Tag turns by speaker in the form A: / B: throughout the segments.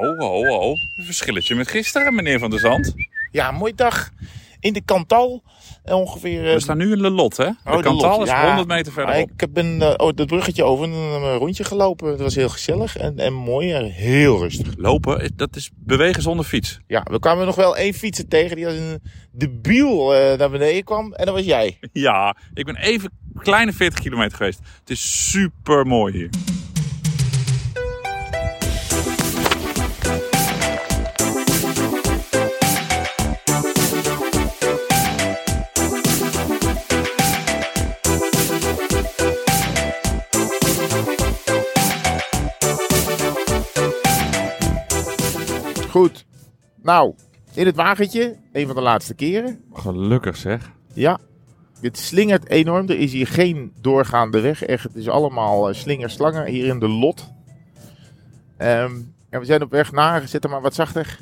A: Oh, oh, oh. Een verschilletje met gisteren, meneer Van der Zand.
B: Ja, mooi dag. In de Cantal. eh, Ongeveer. eh,
A: We staan nu in Le Lot, hè?
B: oh,
A: de Cantal
B: lot.
A: is
B: Ja,
A: 100 meter
B: maar
A: verderop.
B: Ik ben eh, oh, dat bruggetje over en eh, een rondje gelopen. Het was heel gezellig en, en mooi en heel rustig.
A: Lopen, dat is bewegen zonder fiets.
B: Ja, we kwamen nog wel één fietser tegen die als een debiel eh, naar beneden kwam. En dat was jij.
A: Ja, ik ben even een kleine 40 kilometer geweest. Het is super mooi hier.
B: Goed. Nou, in het wagentje. Een van de laatste keren.
A: Gelukkig zeg.
B: Ja, dit slingert enorm. Er is hier geen doorgaande weg. Echt, het is allemaal eh, slingerslangen hier in de lot. Ehm, en we zijn op weg naar, zet hem maar wat zachter,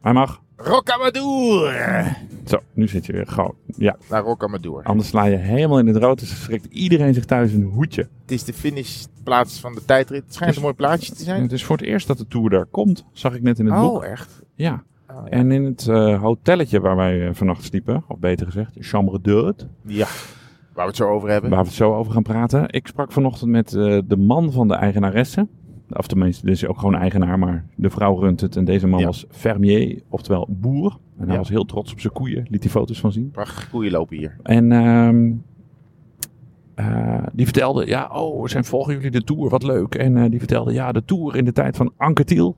A: Hij mag.
B: Rocamadour.
A: Zo, nu zit je weer gauw. Ja,
B: Naar Rocamadour.
A: anders sla je helemaal in het rood. Dus schrikt iedereen zich thuis een hoedje.
B: Het is de finishplaats van de tijdrit. Het schijnt een mooi plaatje te
A: En
B: zijn.
A: het is voor het eerst dat de Tour daar komt. Zag ik net in het boek.
B: Oh, echt?
A: Ja.
B: Oh, ja.
A: En in het eh, hotelletje waar wij eh, vannacht sliepen, of beter gezegd, Chambre d'Hôte,
B: Ja, waar we het zo over hebben.
A: waar we het zo over gaan praten. Ik sprak vanochtend met eh, de man van de eigenaresse. Of tenminste, dit is ook gewoon eigenaar, maar de vrouw runt het. En deze man
B: Ja.
A: was fermier, oftewel boer. En hij
B: Ja.
A: was heel trots op zijn koeien, liet hij foto's van zien.
B: Prachtige koeien lopen hier.
A: En ehm, eh, die vertelde, ja, oh, zijn volgen jullie de Tour, wat leuk. En eh, die vertelde, ja, de Tour in de tijd van Anke Thiel.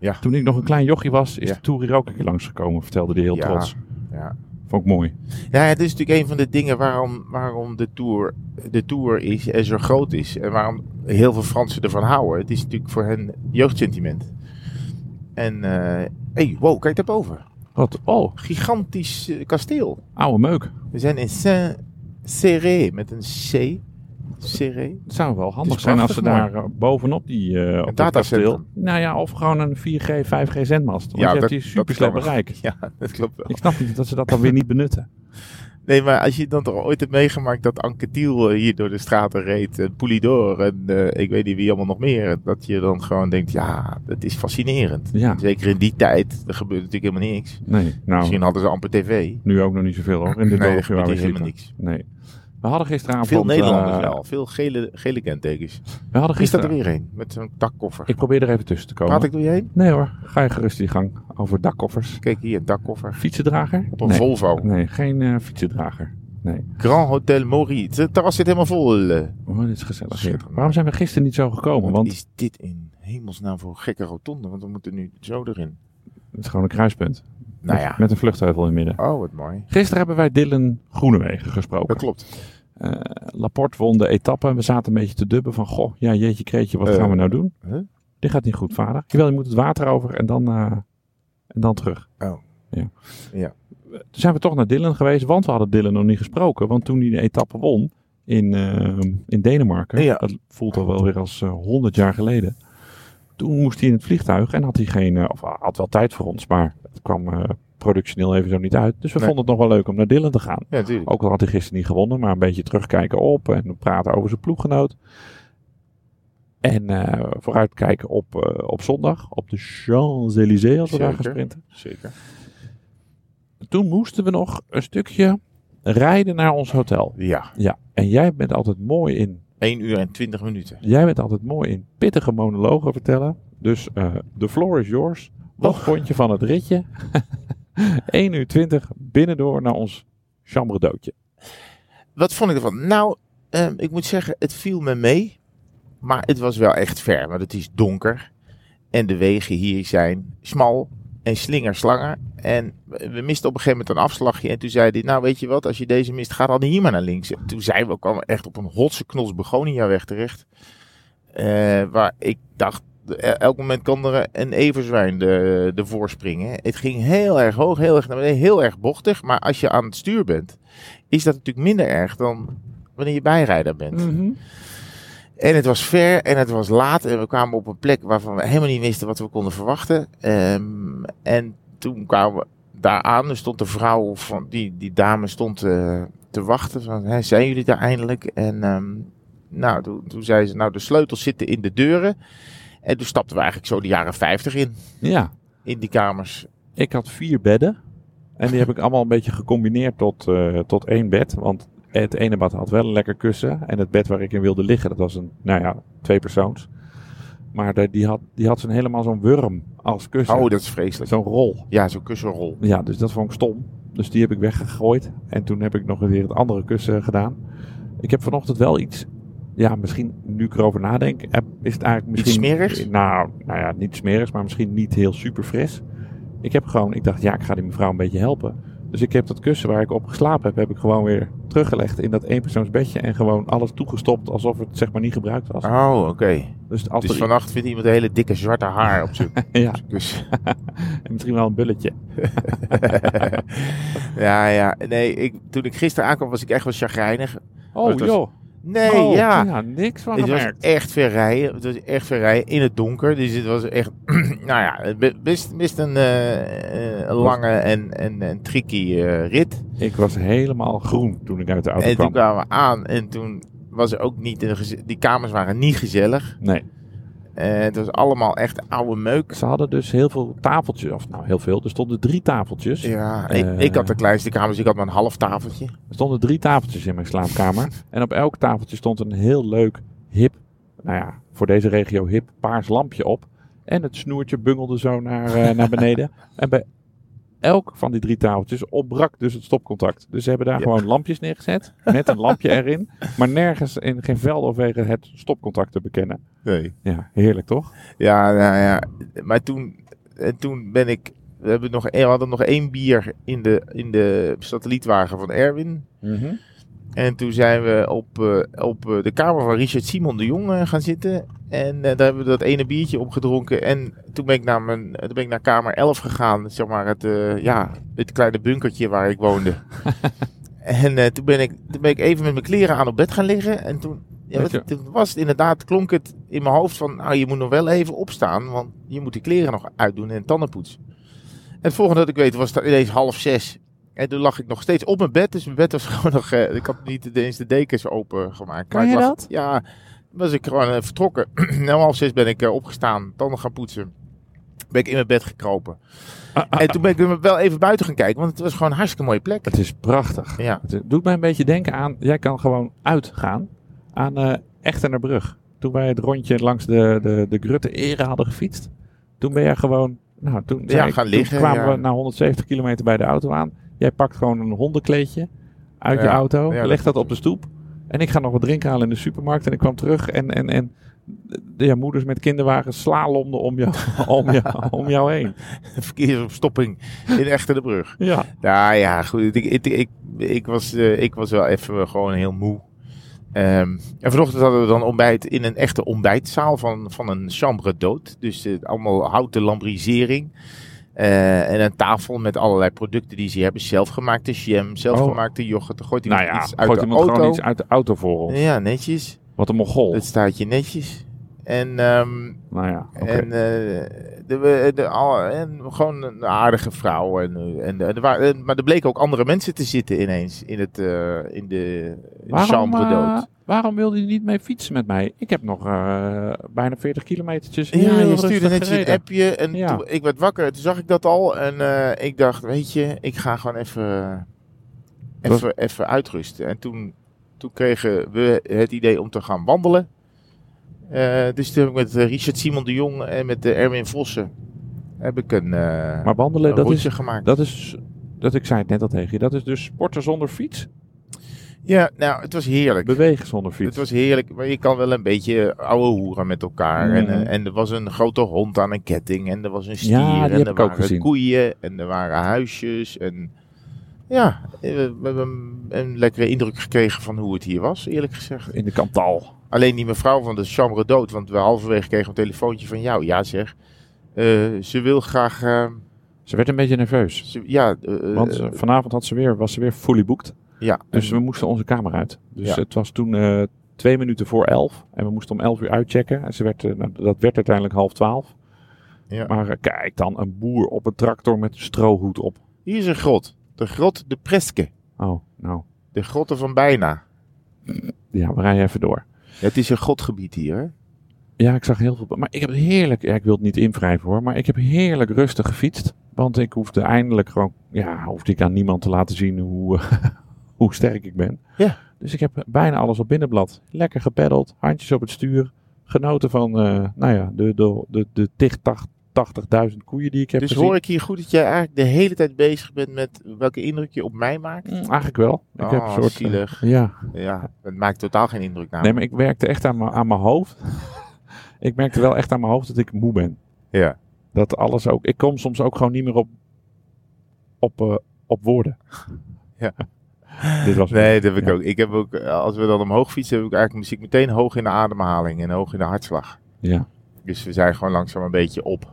B: Ja.
A: Toen ik nog een klein jochie was, is
B: Ja.
A: de Tour hier ook een keer langsgekomen, vertelde hij heel
B: Ja,
A: trots.
B: ja.
A: Vond ik mooi.
B: Ja, het is natuurlijk een van de dingen waarom, waarom de, tour, de Tour is en zo groot is. En waarom heel veel Fransen ervan houden. Het is natuurlijk voor hen jeugdsentiment. En, eh hey, wow, kijk daarboven.
A: Wat, oh,
B: Gigantisch eh, kasteel.
A: oude meuk.
B: We zijn in Saint-Céré met een C. Céré.
A: Het zou wel handig
B: is
A: zijn als ze
B: prachtig
A: daar eh, bovenop die eh op dat
B: datacentrum.
A: kasteel... Nou ja, of gewoon een 4G, 5G zendmast. Want
B: Ja,
A: je hebt
B: dat-
A: die
B: dat
A: super
B: kan wel.
A: bereik.
B: Ja, dat klopt wel.
A: Ik snap niet dat ze dat dan weer niet benutten.
B: Nee, maar als je dan toch ooit hebt meegemaakt dat Anke Thiel eh, hier door de straten reed, en Poulidor en eh, ik weet niet wie allemaal nog meer, dat je dan gewoon denkt, ja, dat is fascinerend.
A: Ja,
B: Zeker in die tijd, er gebeurt natuurlijk helemaal niks.
A: nee. Nou,
B: Misschien hadden ze amper tv.
A: nu ook nog niet zoveel hoor, in dit
B: nee, er
A: dorpje waar
B: gebeurt
A: we
B: hier helemaal
A: zitten.
B: niks.
A: Nee. We hadden gisteravond...
B: Veel Nederlanders
A: eh,
B: wel, veel gele, gele kentekens.
A: We hadden
B: Wie staat er
A: gisteren...
B: weer heen? Met zo'n dakkoffer.
A: Ik probeer er even tussen te komen.
B: Praat ik door je heen?
A: Nee hoor, ga je gerust die gang. Over dakkoffers.
B: Kijk hier, een dakkoffer.
A: Fietsendrager?
B: Op een
A: nee.
B: Volvo.
A: Nee, geen eh, fietsendrager. Nee.
B: Grand Hotel Maurice. Het terras zit helemaal vol. eh.
A: Oh, dit is gezellig. hier.
B: Schitterend.
A: Waarom zijn we gisteren niet zo gekomen?
B: Wat
A: Want
B: is dit in hemelsnaam voor gekke rotonde? Want we moeten nu zo erin.
A: het is gewoon een kruispunt.
B: Nou
A: Met-
B: ja.
A: Met een vluchtheuvel in het midden.
B: Oh, wat mooi.
A: Gisteren hebben wij Dylan Groenewegen gesproken.
B: Dat klopt.
A: Eh, Laporte won de etappe. en We zaten een beetje te dubben van... Goh, ja, jeetje kreetje, wat
B: Eh,
A: gaan we nou doen?
B: huh?
A: Dit gaat niet goed, vader. Jawel, je moet het water over en dan, eh, en dan terug.
B: Oh.
A: Ja.
B: Ja.
A: Toen zijn we toch naar Dylan geweest, want we hadden Dylan nog niet gesproken. Want toen hij de etappe won in, eh, in Denemarken,
B: Ja.
A: dat voelt al wel weer als eh, 100 jaar geleden. Toen moest hij in het vliegtuig en had hij geen, eh, of hij had wel tijd voor ons, maar het kwam eh, productioneel even zo niet uit. Dus we
B: Nee.
A: vonden het nog wel leuk om naar Dylan te gaan.
B: Ja, natuurlijk.
A: Ook al had hij gisteren niet gewonnen, maar een beetje terugkijken op en praten over zijn ploeggenoot. En eh, vooruitkijken op, eh, op zondag, op de Champs-Élysées, als we daar gaan
B: Zeker.
A: sprinten.
B: Zeker.
A: Toen moesten we nog een stukje rijden naar ons hotel.
B: Ja.
A: Ja, en jij bent altijd mooi in,
B: 1 uur en 20 minuten.
A: jij bent altijd mooi in pittige monologen vertellen. Dus eh the floor is yours. Wat
B: Oh.
A: vond je van het ritje? 1 uur 20 binnendoor naar ons chambre d'hôteje.
B: Wat vond ik ervan? Nou, ehm, ik moet zeggen, het viel me mee. Maar het was wel echt ver, want het is donker. En de wegen hier zijn smal en slingerslangen. En we we misten op een gegeven moment een afslagje. En toen zei hij, nou weet je wat, als je deze mist, ga dan hier maar naar links. En toen zijn we, kwamen we echt op een hotse knols Begoniaweg terecht. Eh, waar ik dacht, eh, elk moment kan er een everzwijn de, de voorspringen. Het ging heel erg hoog, heel erg naar beneden, heel erg bochtig. Maar als je aan het stuur bent, is dat natuurlijk minder erg dan wanneer je bijrijder bent.
A: Mhm.
B: En het was ver en het was laat. En we kwamen op een plek waarvan we helemaal niet wisten wat we konden verwachten. Ehm, en toen kwamen we daar aan. Er stond de vrouw van die, die dame stond eh, te wachten. Van, "Hè, zijn jullie daar eindelijk? En ehm, nou, toen, toen zei ze, nou de sleutels zitten in de deuren. En toen stapten we eigenlijk zo de jaren 50 in,
A: Ja,
B: in die kamers.
A: Ik had vier bedden. En die heb ik allemaal een beetje gecombineerd tot, eh, tot één bed. Want het ene bed had wel een lekker kussen. En het bed waar ik in wilde liggen, dat was een, nou ja, twee persoons. Maar de- die had, die had zo'n helemaal zo'n wurm als kussen.
B: Oh, dat is vreselijk.
A: Zo'n rol.
B: Ja, zo'n kussenrol.
A: Ja, dus dat vond ik stom. Dus die heb ik weggegooid. En toen heb ik nog weer het andere kussen gedaan. Ik heb vanochtend wel iets. Ja, misschien nu ik erover nadenk. heb- Is het eigenlijk
B: Iets
A: misschien.
B: smerigs?
A: Nou, nou ja, niet smerigs, maar misschien niet heel super fris. Ik heb gewoon. Ik dacht, ja, ik ga die mevrouw een beetje helpen. Dus ik heb dat kussen waar ik op geslapen heb, heb ik gewoon weer teruggelegd in dat eenpersoonsbedje. En gewoon alles toegestopt alsof het zeg maar niet gebruikt was.
B: Oh, oké.
A: Dus als
B: Dus
A: er,
B: vannacht vindt iemand een hele dikke zwarte haar op zijn
A: ja,
B: op zijn kussen.
A: en misschien wel een bulletje.
B: ja, ja. Nee, ik, toen ik gisteren aankwam was ik echt wel chagrijnig.
A: Oh,
B: het was-
A: joh.
B: Nee,
A: oh,
B: ja.
A: niks van
B: Het was
A: gemerkt.
B: echt ver rijden. Het was echt ver rijden in het donker. Dus het was echt, nou ja, het be- best, best een eh, eh, lange en, en, en tricky eh, rit.
A: Ik was helemaal groen toen ik uit de auto
B: En
A: kwam.
B: toen kwamen we aan en toen was er ook niet, een geze- die kamers waren niet gezellig.
A: Nee,
B: Eh, het was allemaal echt oude meuk.
A: ze hadden dus heel veel tafeltjes. Of nou, heel veel. Er stonden drie tafeltjes.
B: Ja,
A: Eh.
B: ik, ik had de kleinste kamers, ik had maar een half tafeltje.
A: Er stonden drie tafeltjes in mijn slaapkamer. en op elk tafeltje stond een heel leuk, hip, nou ja, voor deze regio hip, paars lampje op. En het snoertje bungelde zo naar, eh, naar beneden. En bij elk van die drie tafeltjes ontbrak dus het stopcontact. Dus ze hebben daar
B: Ja.
A: gewoon lampjes neergezet, met een lampje erin. Maar nergens in geen veld of wegen het stopcontact te bekennen.
B: Nee.
A: Ja, heerlijk toch?
B: Ja, nou ja. Maar toen, en toen ben ik. We, hebben nog, we hadden nog één bier in de, in de satellietwagen van Erwin. En toen zijn we op, eh, op eh, de kamer van Richard Simon de Jong eh, gaan zitten. En eh, daar hebben we dat ene biertje op gedronken. En toen ben ik naar, mijn, eh, toen ben ik naar kamer 11 gegaan. Zeg maar het, eh, ja, het kleine bunkertje waar ik woonde. en eh, toen, ben ik, toen ben ik even met mijn kleren aan op bed gaan liggen. En toen, ja,
A: Weet
B: wat, toen was het inderdaad, klonk het in mijn hoofd van... Nou, je moet nog wel even opstaan, want je moet die kleren nog uitdoen en tanden poetsen. En het volgende dat ik weet was dat ineens half zes. En toen lag ik nog steeds op mijn bed. Dus mijn bed was gewoon nog... eh, ik had niet eens de dekens open gemaakt.
A: Kan je dat?
B: Ja, was ik gewoon eh, vertrokken. en om half zes ben ik eh, opgestaan, tanden gaan poetsen. Ben ik in mijn bed gekropen. En toen ben ik er wel even buiten gaan kijken, want het was gewoon een hartstikke mooie plek.
A: Het is prachtig.
B: Ja.
A: Het doet mij een beetje denken aan, jij kan gewoon uitgaan aan eh Echtenerbrug. Toen wij het rondje langs de, de, de Grutte Ere hadden gefietst, toen ben jij gewoon, nou toen, zei
B: Ja,
A: ik,
B: gaan
A: toen
B: liggen,
A: kwamen
B: ja.
A: we na 170 kilometer bij de auto aan. Jij pakt gewoon een hondenkleedje uit je
B: Ja,
A: auto,
B: ja,
A: legt dat
B: dat-
A: op de stoep. En ik ga nog wat drinken halen in de supermarkt. En ik kwam terug en, en, en de, ja, moeders met kinderwagens slalomden om jou, om jou, om jou heen.
B: Verkeersopstopping in Echterbrug.
A: Ja.
B: Nou ja, goed. Ik, ik, ik, ik was, eh, ik was wel even gewoon heel moe. Ehm, en vanochtend hadden we dan ontbijt in een echte ontbijtzaal van, van een chambre d'hôte. Dus eh, allemaal houten lambrisering. Eh, en een tafel met allerlei producten die ze hebben. Zelfgemaakte jam, zelfgemaakte yoghurt. Er Gooit
A: Nou
B: iemand
A: ja,
B: iets uit
A: gooit
B: de
A: iemand
B: auto.
A: gewoon iets uit de auto voor ons.
B: Ja, netjes.
A: Wat een mogol.
B: Het staat je netjes. En, ehm,
A: Nou ja, oké.
B: en, eh, de, we- de, al- en gewoon een aardige vrouw. En, eh, en, er wa- en- maar er bleken ook andere mensen te zitten ineens in, het, eh, in de, in de chambre
A: eh,
B: dood.
A: waarom wilde je niet mee fietsen met mij? Ik heb nog eh, bijna 40 kilometertjes.
B: Ja,
A: heel
B: je stuurde
A: rustig
B: net je
A: gereden.
B: appje en
A: Ja.
B: toen, ik werd wakker. Toen zag ik dat al en eh, ik dacht, weet je, ik ga gewoon even,
A: was-
B: even, even uitrusten. En toen, toen kregen we het idee om te gaan wandelen. Eh, dus toen heb ik met eh, Richard Simon de Jong en met eh, Erwin Vossen heb ik een, eh
A: Maar wandelen,
B: een
A: dat is,
B: rondje gemaakt.
A: dat is... Dat, ik zei het net al tegen je. Dat is dus sporten zonder fiets.
B: Ja, nou, het was heerlijk.
A: Bewegen zonder
B: Het
A: fiets.
B: was heerlijk, maar je kan wel een beetje ouwe hoeren met elkaar. En,
A: Mhm.
B: eh, en er was een grote hond aan een ketting en er was een stier
A: Ja, die
B: en
A: heb
B: er
A: ik ook
B: waren
A: gezien.
B: koeien en er waren huisjes. En ja, eh, we hebben een, een lekkere indruk gekregen van hoe het hier was, eerlijk gezegd.
A: In de Kantal.
B: Alleen die mevrouw van de chambre dood, want we halverwege kregen een telefoontje van jou. Ja zeg, eh, ze wil graag, eh,
A: Ze werd een beetje nerveus.
B: ze- ja, eh,
A: Want eh, vanavond had ze weer, was ze weer fully booked.
B: ja.
A: Dus we moesten onze kamer uit. Dus
B: Ja.
A: het was toen eh, twee minuten voor elf. En we moesten om elf uur uitchecken. En ze werd, eh, nou, dat werd uiteindelijk half twaalf.
B: Ja.
A: Maar eh, kijk dan, een boer op een tractor met een strohoed op.
B: Hier is een grot, de grot de Preske,
A: Oh, nou.
B: de grotten van bijna.
A: Ja, we rijden even door.
B: Ja, het is een godgebied hier, Dus hè?
A: Ja, ik zag heel veel. Maar ik heb heerlijk. Ja, ik wil het niet invrijven hoor. Maar ik heb heerlijk rustig gefietst. Want ik hoefde eindelijk gewoon. Ja, hoefde ik aan niemand te laten zien hoe, hoe sterk ik ben.
B: Ja.
A: Dus ik heb bijna alles op binnenblad. Lekker gepeddeld. Handjes op het stuur. Genoten van. eh, nou ja, de, de, de, de tig tach- 80.000 koeien die ik heb
B: Dus
A: gezien.
B: hoor ik hier goed dat jij eigenlijk de hele tijd bezig bent met welke indruk je op mij maakt?
A: Mm, Eigenlijk wel. Ik heb een
B: Oh,
A: soort. eh,
B: zielig.
A: ja,
B: Ja, het maakt totaal geen indruk
A: Nee,
B: namelijk.
A: maar ik werkte echt aan mijn- aan mijn hoofd. ik merkte wel echt aan mijn hoofd dat ik moe ben.
B: Ja.
A: Dat alles ook. Ik kom soms ook gewoon niet meer op, op, eh, op woorden.
B: Ja.
A: Dit was.
B: Nee, dat heb ik
A: Ja.
B: ook. Ik heb ook, eh, als we dan omhoog fietsen, heb ik eigenlijk muziek meteen hoog in de ademhaling en hoog in de hartslag.
A: Ja.
B: Dus we zijn gewoon langzaam een beetje op.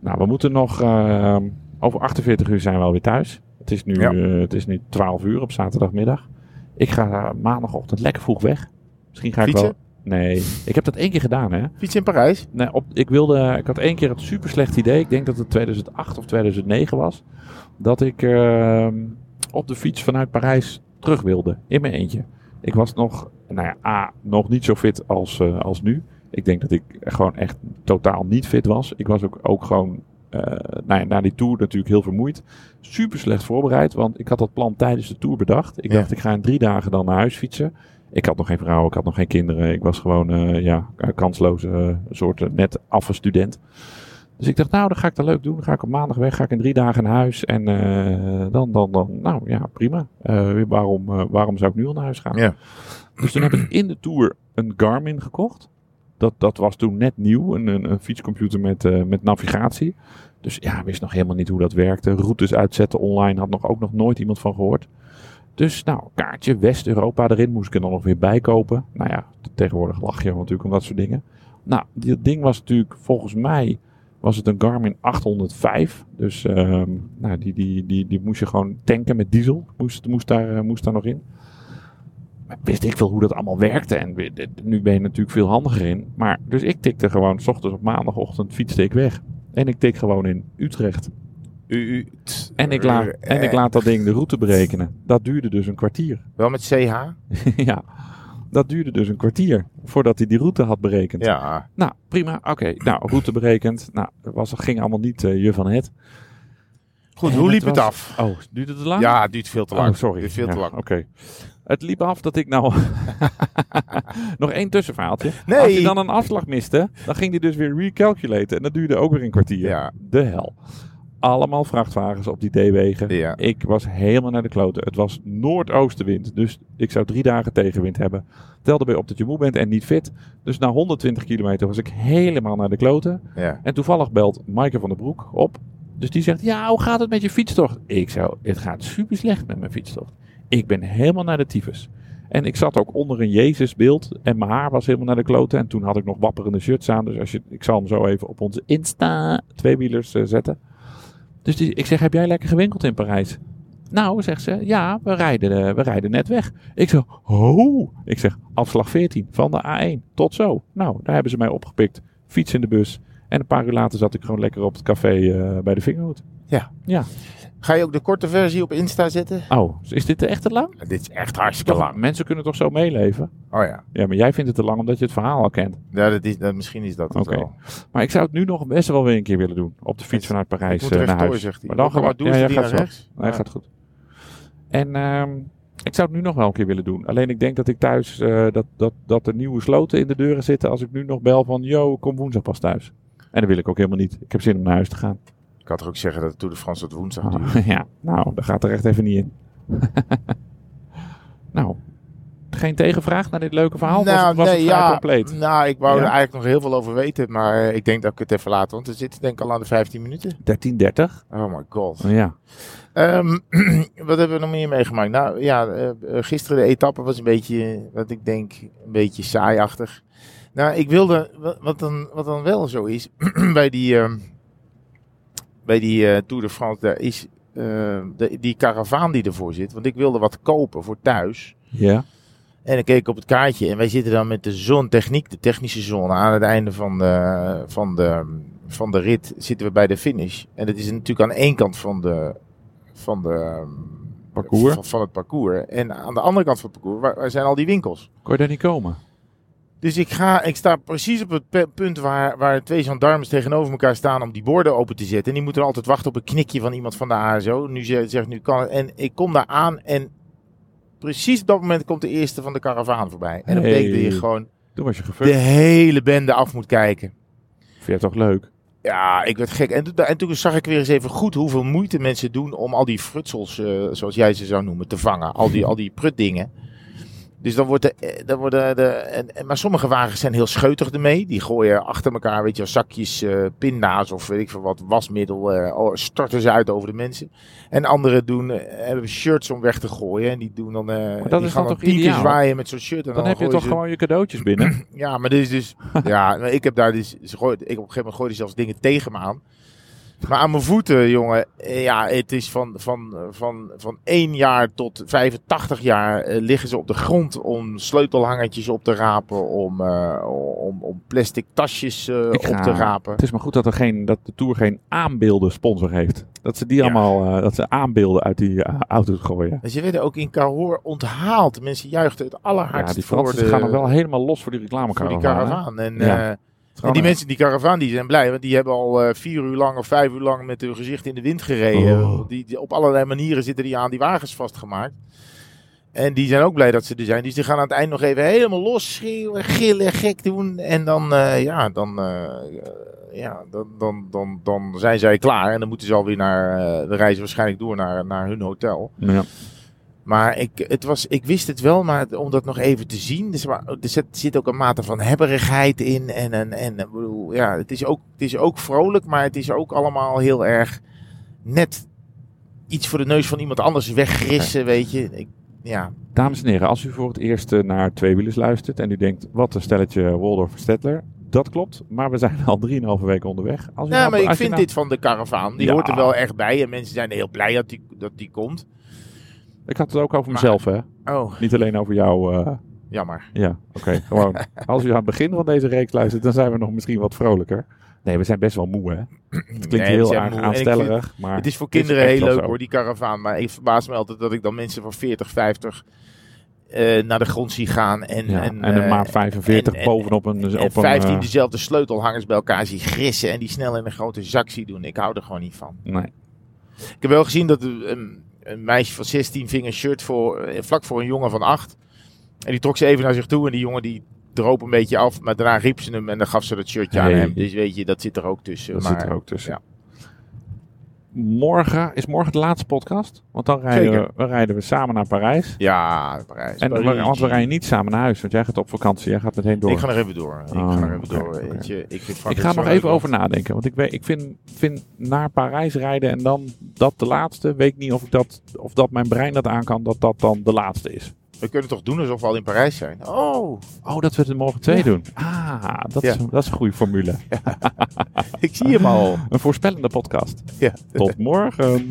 A: Nou, we moeten nog. eh, over 48 uur zijn we alweer thuis. Het is, nu,
B: Ja.
A: eh, het is nu 12 uur op zaterdagmiddag. Ik ga maandagochtend lekker vroeg weg. Misschien ga
B: Fietsen?
A: ik wel. Nee, ik heb dat één keer gedaan, hè?
B: Fietsen in Parijs?
A: Nee, op, ik, wilde, ik had één keer het super slecht idee. Ik denk dat het 2008 of 2009 was. Dat ik ehm, op de fiets vanuit Parijs terug wilde. In mijn eentje. Ik was nog, nou ja, A, nog niet zo fit als, eh, als nu. Ik denk dat ik gewoon echt totaal niet fit was. Ik was ook, ook gewoon eh, nou ja, na die tour natuurlijk heel vermoeid. Super slecht voorbereid, want ik had dat plan tijdens de tour bedacht. Ik
B: Ja.
A: dacht, ik ga in drie dagen dan naar huis fietsen. Ik had nog geen vrouw, ik had nog geen kinderen. Ik was gewoon eh, ja, een kansloze eh, soort eh, net affe student. Dus ik dacht, nou, dan ga ik dat leuk doen. Dan ga ik op maandag weg, ga ik in drie dagen naar huis. En eh, dan, dan, dan, nou ja, prima. Eh, waarom, eh, waarom zou ik nu al naar huis gaan?
B: Ja.
A: Dus toen heb ik in de Tour een Garmin gekocht. Dat, dat was toen net nieuw, een, een, een fietscomputer met, eh, met navigatie. Dus ja, wist nog helemaal niet hoe dat werkte. Routes uitzetten online had nog ook nog nooit iemand van gehoord. Dus nou, kaartje West-Europa erin moest ik er dan nog weer bij kopen. Nou ja, tegenwoordig lach je natuurlijk om dat soort dingen. Nou, dit ding was natuurlijk volgens mij was het een Garmin 805. Dus ehm, nou, die, die, die, die moest je gewoon tanken met diesel. Moest, moest, daar, eh, moest daar nog in. Maar wist ik veel hoe dat allemaal werkte. En we- de- de- nu ben je natuurlijk veel handiger in. Maar dus ik tikte gewoon, s ochtends op maandagochtend fietste ik weg. En ik tik gewoon in Utrecht.
B: U, u, t-
A: En ik, la,
B: eh,
A: en ik laat dat ding de route berekenen. Dat duurde dus een kwartier.
B: Wel met CH?
A: ja, dat duurde dus een kwartier voordat hij die route had berekend.
B: Ja.
A: Nou, prima. Oké, nou, route berekend. Nou, was, ging allemaal niet eh, je van het.
B: Goed,
A: En
B: hoe
A: het
B: liep het
A: was-
B: af?
A: Oh, duurde het lang?
B: Ja, het duurt veel te lang.
A: Oh, sorry.
B: Het duurt veel
A: Ja,
B: te lang.
A: Oké. Het liep af dat ik nou... Nog één tussenverhaaltje.
B: Nee.
A: Als je dan een afslag miste, dan ging die dus weer recalculaten. En dat duurde ook weer een kwartier.
B: Ja.
A: De hel. Allemaal vrachtwagens op die D-wegen.
B: Ja.
A: Ik was helemaal naar de kloten. Het was noordoostenwind. Dus ik zou drie dagen tegenwind hebben. Tel erbij op dat je moe bent en niet fit. Dus na 120 kilometer was ik helemaal naar de kloten.
B: ja.
A: En toevallig belt Maaike van der Broek op. Dus die zegt, ja, hoe gaat het met je fietstocht? Ik zou, het gaat super slecht met mijn fietstocht. Ik ben helemaal naar de tyfus. En ik zat ook onder een Jezusbeeld en mijn haar was helemaal naar de kloten. En toen had ik nog wapperende shirts aan. Dus als je, ik zal hem zo even op onze Insta tweewielers eh, zetten. Dus die, ik zeg, heb jij lekker gewinkeld in Parijs? Nou, zegt ze, ja, we rijden, eh, we rijden net weg. Ik zeg, ho! Ik zeg, afslag 14 van de A1. Tot zo. Nou, daar hebben ze mij opgepikt. Fiets in de bus. En een paar uur later zat ik gewoon lekker op het café eh, bij de Vingerhoed.
B: Ga je ook de korte versie op Insta zetten?
A: Oh, is dit echt te lang?
B: Ja, dit is echt hartstikke lang.
A: Mensen kunnen toch zo meeleven?
B: Oh ja,
A: Ja, maar jij vindt het te lang omdat je het verhaal al kent.
B: ja dat is, dat, misschien is dat het
A: Oké.
B: wel.
A: Maar ik zou het nu nog best wel weer een keer willen doen. Op de fiets vanuit
B: Ik
A: Parijs
B: moet
A: eh, naar
B: rechtdoor,
A: huis.
B: zegt hij.
A: Maar dan
B: Ook al
A: gaan we-
B: doen
A: ja,
B: ze
A: jij
B: die
A: gaat
B: naar
A: zo.
B: rechts.
A: Nee,
B: Ja.
A: gaat goed. En ehm, ik zou het nu nog wel een keer willen doen. Alleen ik denk dat ik thuis, eh, dat, dat, dat er nieuwe sloten in de deuren zitten als ik nu nog bel van, yo, kom woensdag pas thuis. En dat wil ik ook helemaal niet. Ik heb zin om naar huis te gaan.
B: Ik had er ook zeggen dat de Tour de France tot woensdag duurt.
A: Ah, ja, nou, dat gaat er echt even niet in. nou, geen tegenvraag naar dit leuke verhaal? was het, was het vrij compleet?
B: nou, ik wou
A: Ja.
B: er eigenlijk nog heel veel over weten, maar eh, ik denk dat ik het even laat, want we zitten denk ik al aan de 15 minuten.
A: 1330?
B: Oh my god.
A: Ja.
B: Ehm, wat hebben we nog meer meegemaakt? Nou ja, eh, eh, gisteren de etappe was een beetje, eh, wat ik denk, een beetje saaiachtig. Nou, ik wilde, wa- wat dan, wat dan wel zo is, bij die, ehm, bij die eh, Tour de France, daar is ehm, de- die karavaan die ervoor zit. Want ik wilde wat kopen voor thuis.
A: Ja.
B: En dan keek ik op het kaartje en wij zitten dan met de zontechniek, de technische zone, aan het einde van de, van de, van de rit zitten we bij de finish. En dat is natuurlijk aan één kant van de, van de
A: Parcours?
B: Van, van het parcours. En aan de andere kant van het parcours, waar, waar zijn al die winkels?
A: Kon je daar niet komen?
B: Dus ik, ga, ik sta precies op het pe- punt waar, waar twee gendarmes tegenover elkaar staan om die borden open te zetten. En die moeten altijd wachten op een knikje van iemand van de ASO. Nu ze- zegt nu kan het. En ik kom daar aan en precies op dat moment komt de eerste van de karavaan voorbij. En dan
A: Hey.
B: betekent dat je gewoon
A: Toen was je gefukt.
B: de hele bende af moet kijken.
A: Vind je het toch leuk?
B: Ja, ik werd gek. En, toen- en toen zag ik weer eens even goed hoeveel moeite mensen doen om al die frutsels, eh, zoals jij ze zou noemen, te vangen. Al die, al die prutdingen. Dus dan wordt de, eh, dan worden de en, en- maar sommige wagens zijn heel scheutig ermee. Die gooien achter elkaar, weet je, wel, zakjes eh, pinda's of weet ik veel wat, wasmiddel, eh, oh, storten ze uit over de mensen. En anderen doen, eh, hebben shirts om weg te gooien en die doen dan, eh,
A: dat
B: die
A: is
B: gaan
A: dan
B: dan
A: toch
B: tien keer
A: ideaal?
B: zwaaien met zo'n shirt. En
A: Dan heb je
B: gooien
A: toch
B: ze-
A: gewoon je cadeautjes binnen.
B: ja, maar dit is dus. ja, maar ik heb daar dus. ze gooiden- ik op een gegeven moment gooide zelfs dingen tegen me aan. Maar aan mijn voeten, jongen. eh, Ja, het is van, van, van, van 1 jaar tot 85 jaar eh, liggen ze op de grond om sleutelhangertjes op te rapen. Om, eh, om, om plastic tasjes eh, op
A: Ik ga-
B: te rapen.
A: het is maar goed dat, er geen, dat de Tour geen aanbeelden sponsor heeft. Dat ze die
B: Ja.
A: allemaal, eh, dat ze aanbeelden uit die eh, auto's gooien.
B: En ze werden ook in Cahors onthaald. Mensen juichten het
A: Ja,
B: allerhardst
A: die
B: voor,
A: Fransen
B: de,
A: gaan er wel helemaal los voor die
B: voor die
A: reclamekaravaan. hè?
B: karavaan. En,
A: Ja.
B: eh, En die mensen in die caravan die zijn blij, want die hebben al eh, vier uur lang of vijf uur lang met hun gezicht in de wind gereden.
A: Oh.
B: Die, die- op allerlei manieren zitten die aan die wagens vastgemaakt. En die zijn ook blij dat ze er zijn. Dus die gaan aan het eind nog even helemaal los schreeuwen, gillen, gek doen. En dan, eh, ja, dan, eh, ja dan, dan, dan, dan zijn zij klaar. En dan moeten ze alweer naar, eh de reizen waarschijnlijk door naar, naar hun hotel.
A: Ja.
B: Maar ik, het was, ik wist het wel, maar het- om dat nog even te zien. Dus, maar, er zit, zit ook een mate van hebberigheid in. En, en, en ik bedoel, ja, het, is ook, het is ook vrolijk, maar het is ook allemaal heel erg net iets voor de neus van iemand anders wegrissen, weet je. Ik, ja,
A: Dames en heren, als u voor het eerst eh, naar Tweewielers luistert en u denkt, wat een stelletje Waldorf en Stettler. Dat klopt, maar we zijn al 3,5 weken onderweg. Als u
B: ja
A: nou-
B: maar ik
A: als u
B: vind
A: nou-
B: dit van de karavaan, die
A: Ja.
B: hoort er wel echt bij. En mensen zijn heel blij dat die, dat die komt.
A: Ik had het ook over
B: Maar-
A: mezelf, hè.
B: Oh,
A: Niet alleen over jou. eh,
B: jammer.
A: Ja, oké. Gewoon, als u aan het begin van deze reeks luistert, dan zijn we nog misschien wat vrolijker. Nee, we zijn best wel moe, hè? Het klinkt
B: Nee,
A: heel
B: zijn
A: aan,
B: moe. En ik vind-
A: aanstellerig, maar...
B: Het is voor
A: Het is
B: kinderen
A: echt
B: heel
A: wel
B: leuk
A: zo.
B: hoor, die karavaan. Maar ik verbaas me altijd dat ik dan mensen van 40, 50 eh, naar de grond zie gaan. En,
A: ja, en,
B: en,
A: een
B: eh,
A: maat 45
B: en- en-
A: bovenop een...
B: en
A: op een
B: 15
A: eh,
B: dezelfde sleutelhangers bij elkaar zie grissen. En die snel in een grote zak zie doen. Ik hou er gewoon niet van.
A: nee.
B: Ik heb wel gezien dat een, een meisje van 16 ving een shirt voor, eh, vlak voor een jongen van 8. En die trok ze even naar zich toe. En die jongen die droop een beetje af. Maar daarna riep ze hem en dan gaf ze dat shirtje aan
A: Hey.
B: hem. Dus weet je, dat zit er ook tussen.
A: Dat
B: maar,
A: zit er ook tussen.
B: ja.
A: Morgen, is morgen de laatste podcast? Want dan rijden, we,
B: Zeker.
A: dan rijden we samen naar Parijs.
B: Ja, Parijs.
A: En, we-
B: Parijs.
A: want we rijden niet samen naar huis, want jij gaat op vakantie. Jij gaat meteen door.
B: Ik ga nog even door. Ik
A: Oh,
B: ga nog even
A: oké,
B: door.
A: oké.
B: Weet je, ik, vind
A: Ik
B: Frankrijk
A: ga er
B: zo'n
A: nog
B: leuk
A: even
B: land.
A: over nadenken. Want ik, weet, ik vind, vind naar Parijs rijden en dan dat de laatste. Weet ik niet of, ik dat, of dat mijn brein dat aan kan, dat dat dan de laatste is.
B: We kunnen toch doen alsof we al in Parijs zijn? Oh,
A: Oh, dat we het er morgen twee
B: Ja.
A: doen. Ah, dat, is,
B: Ja.
A: dat is een goede formule.
B: ik zie hem al.
A: Een voorspellende podcast.
B: Ja.
A: Tot morgen.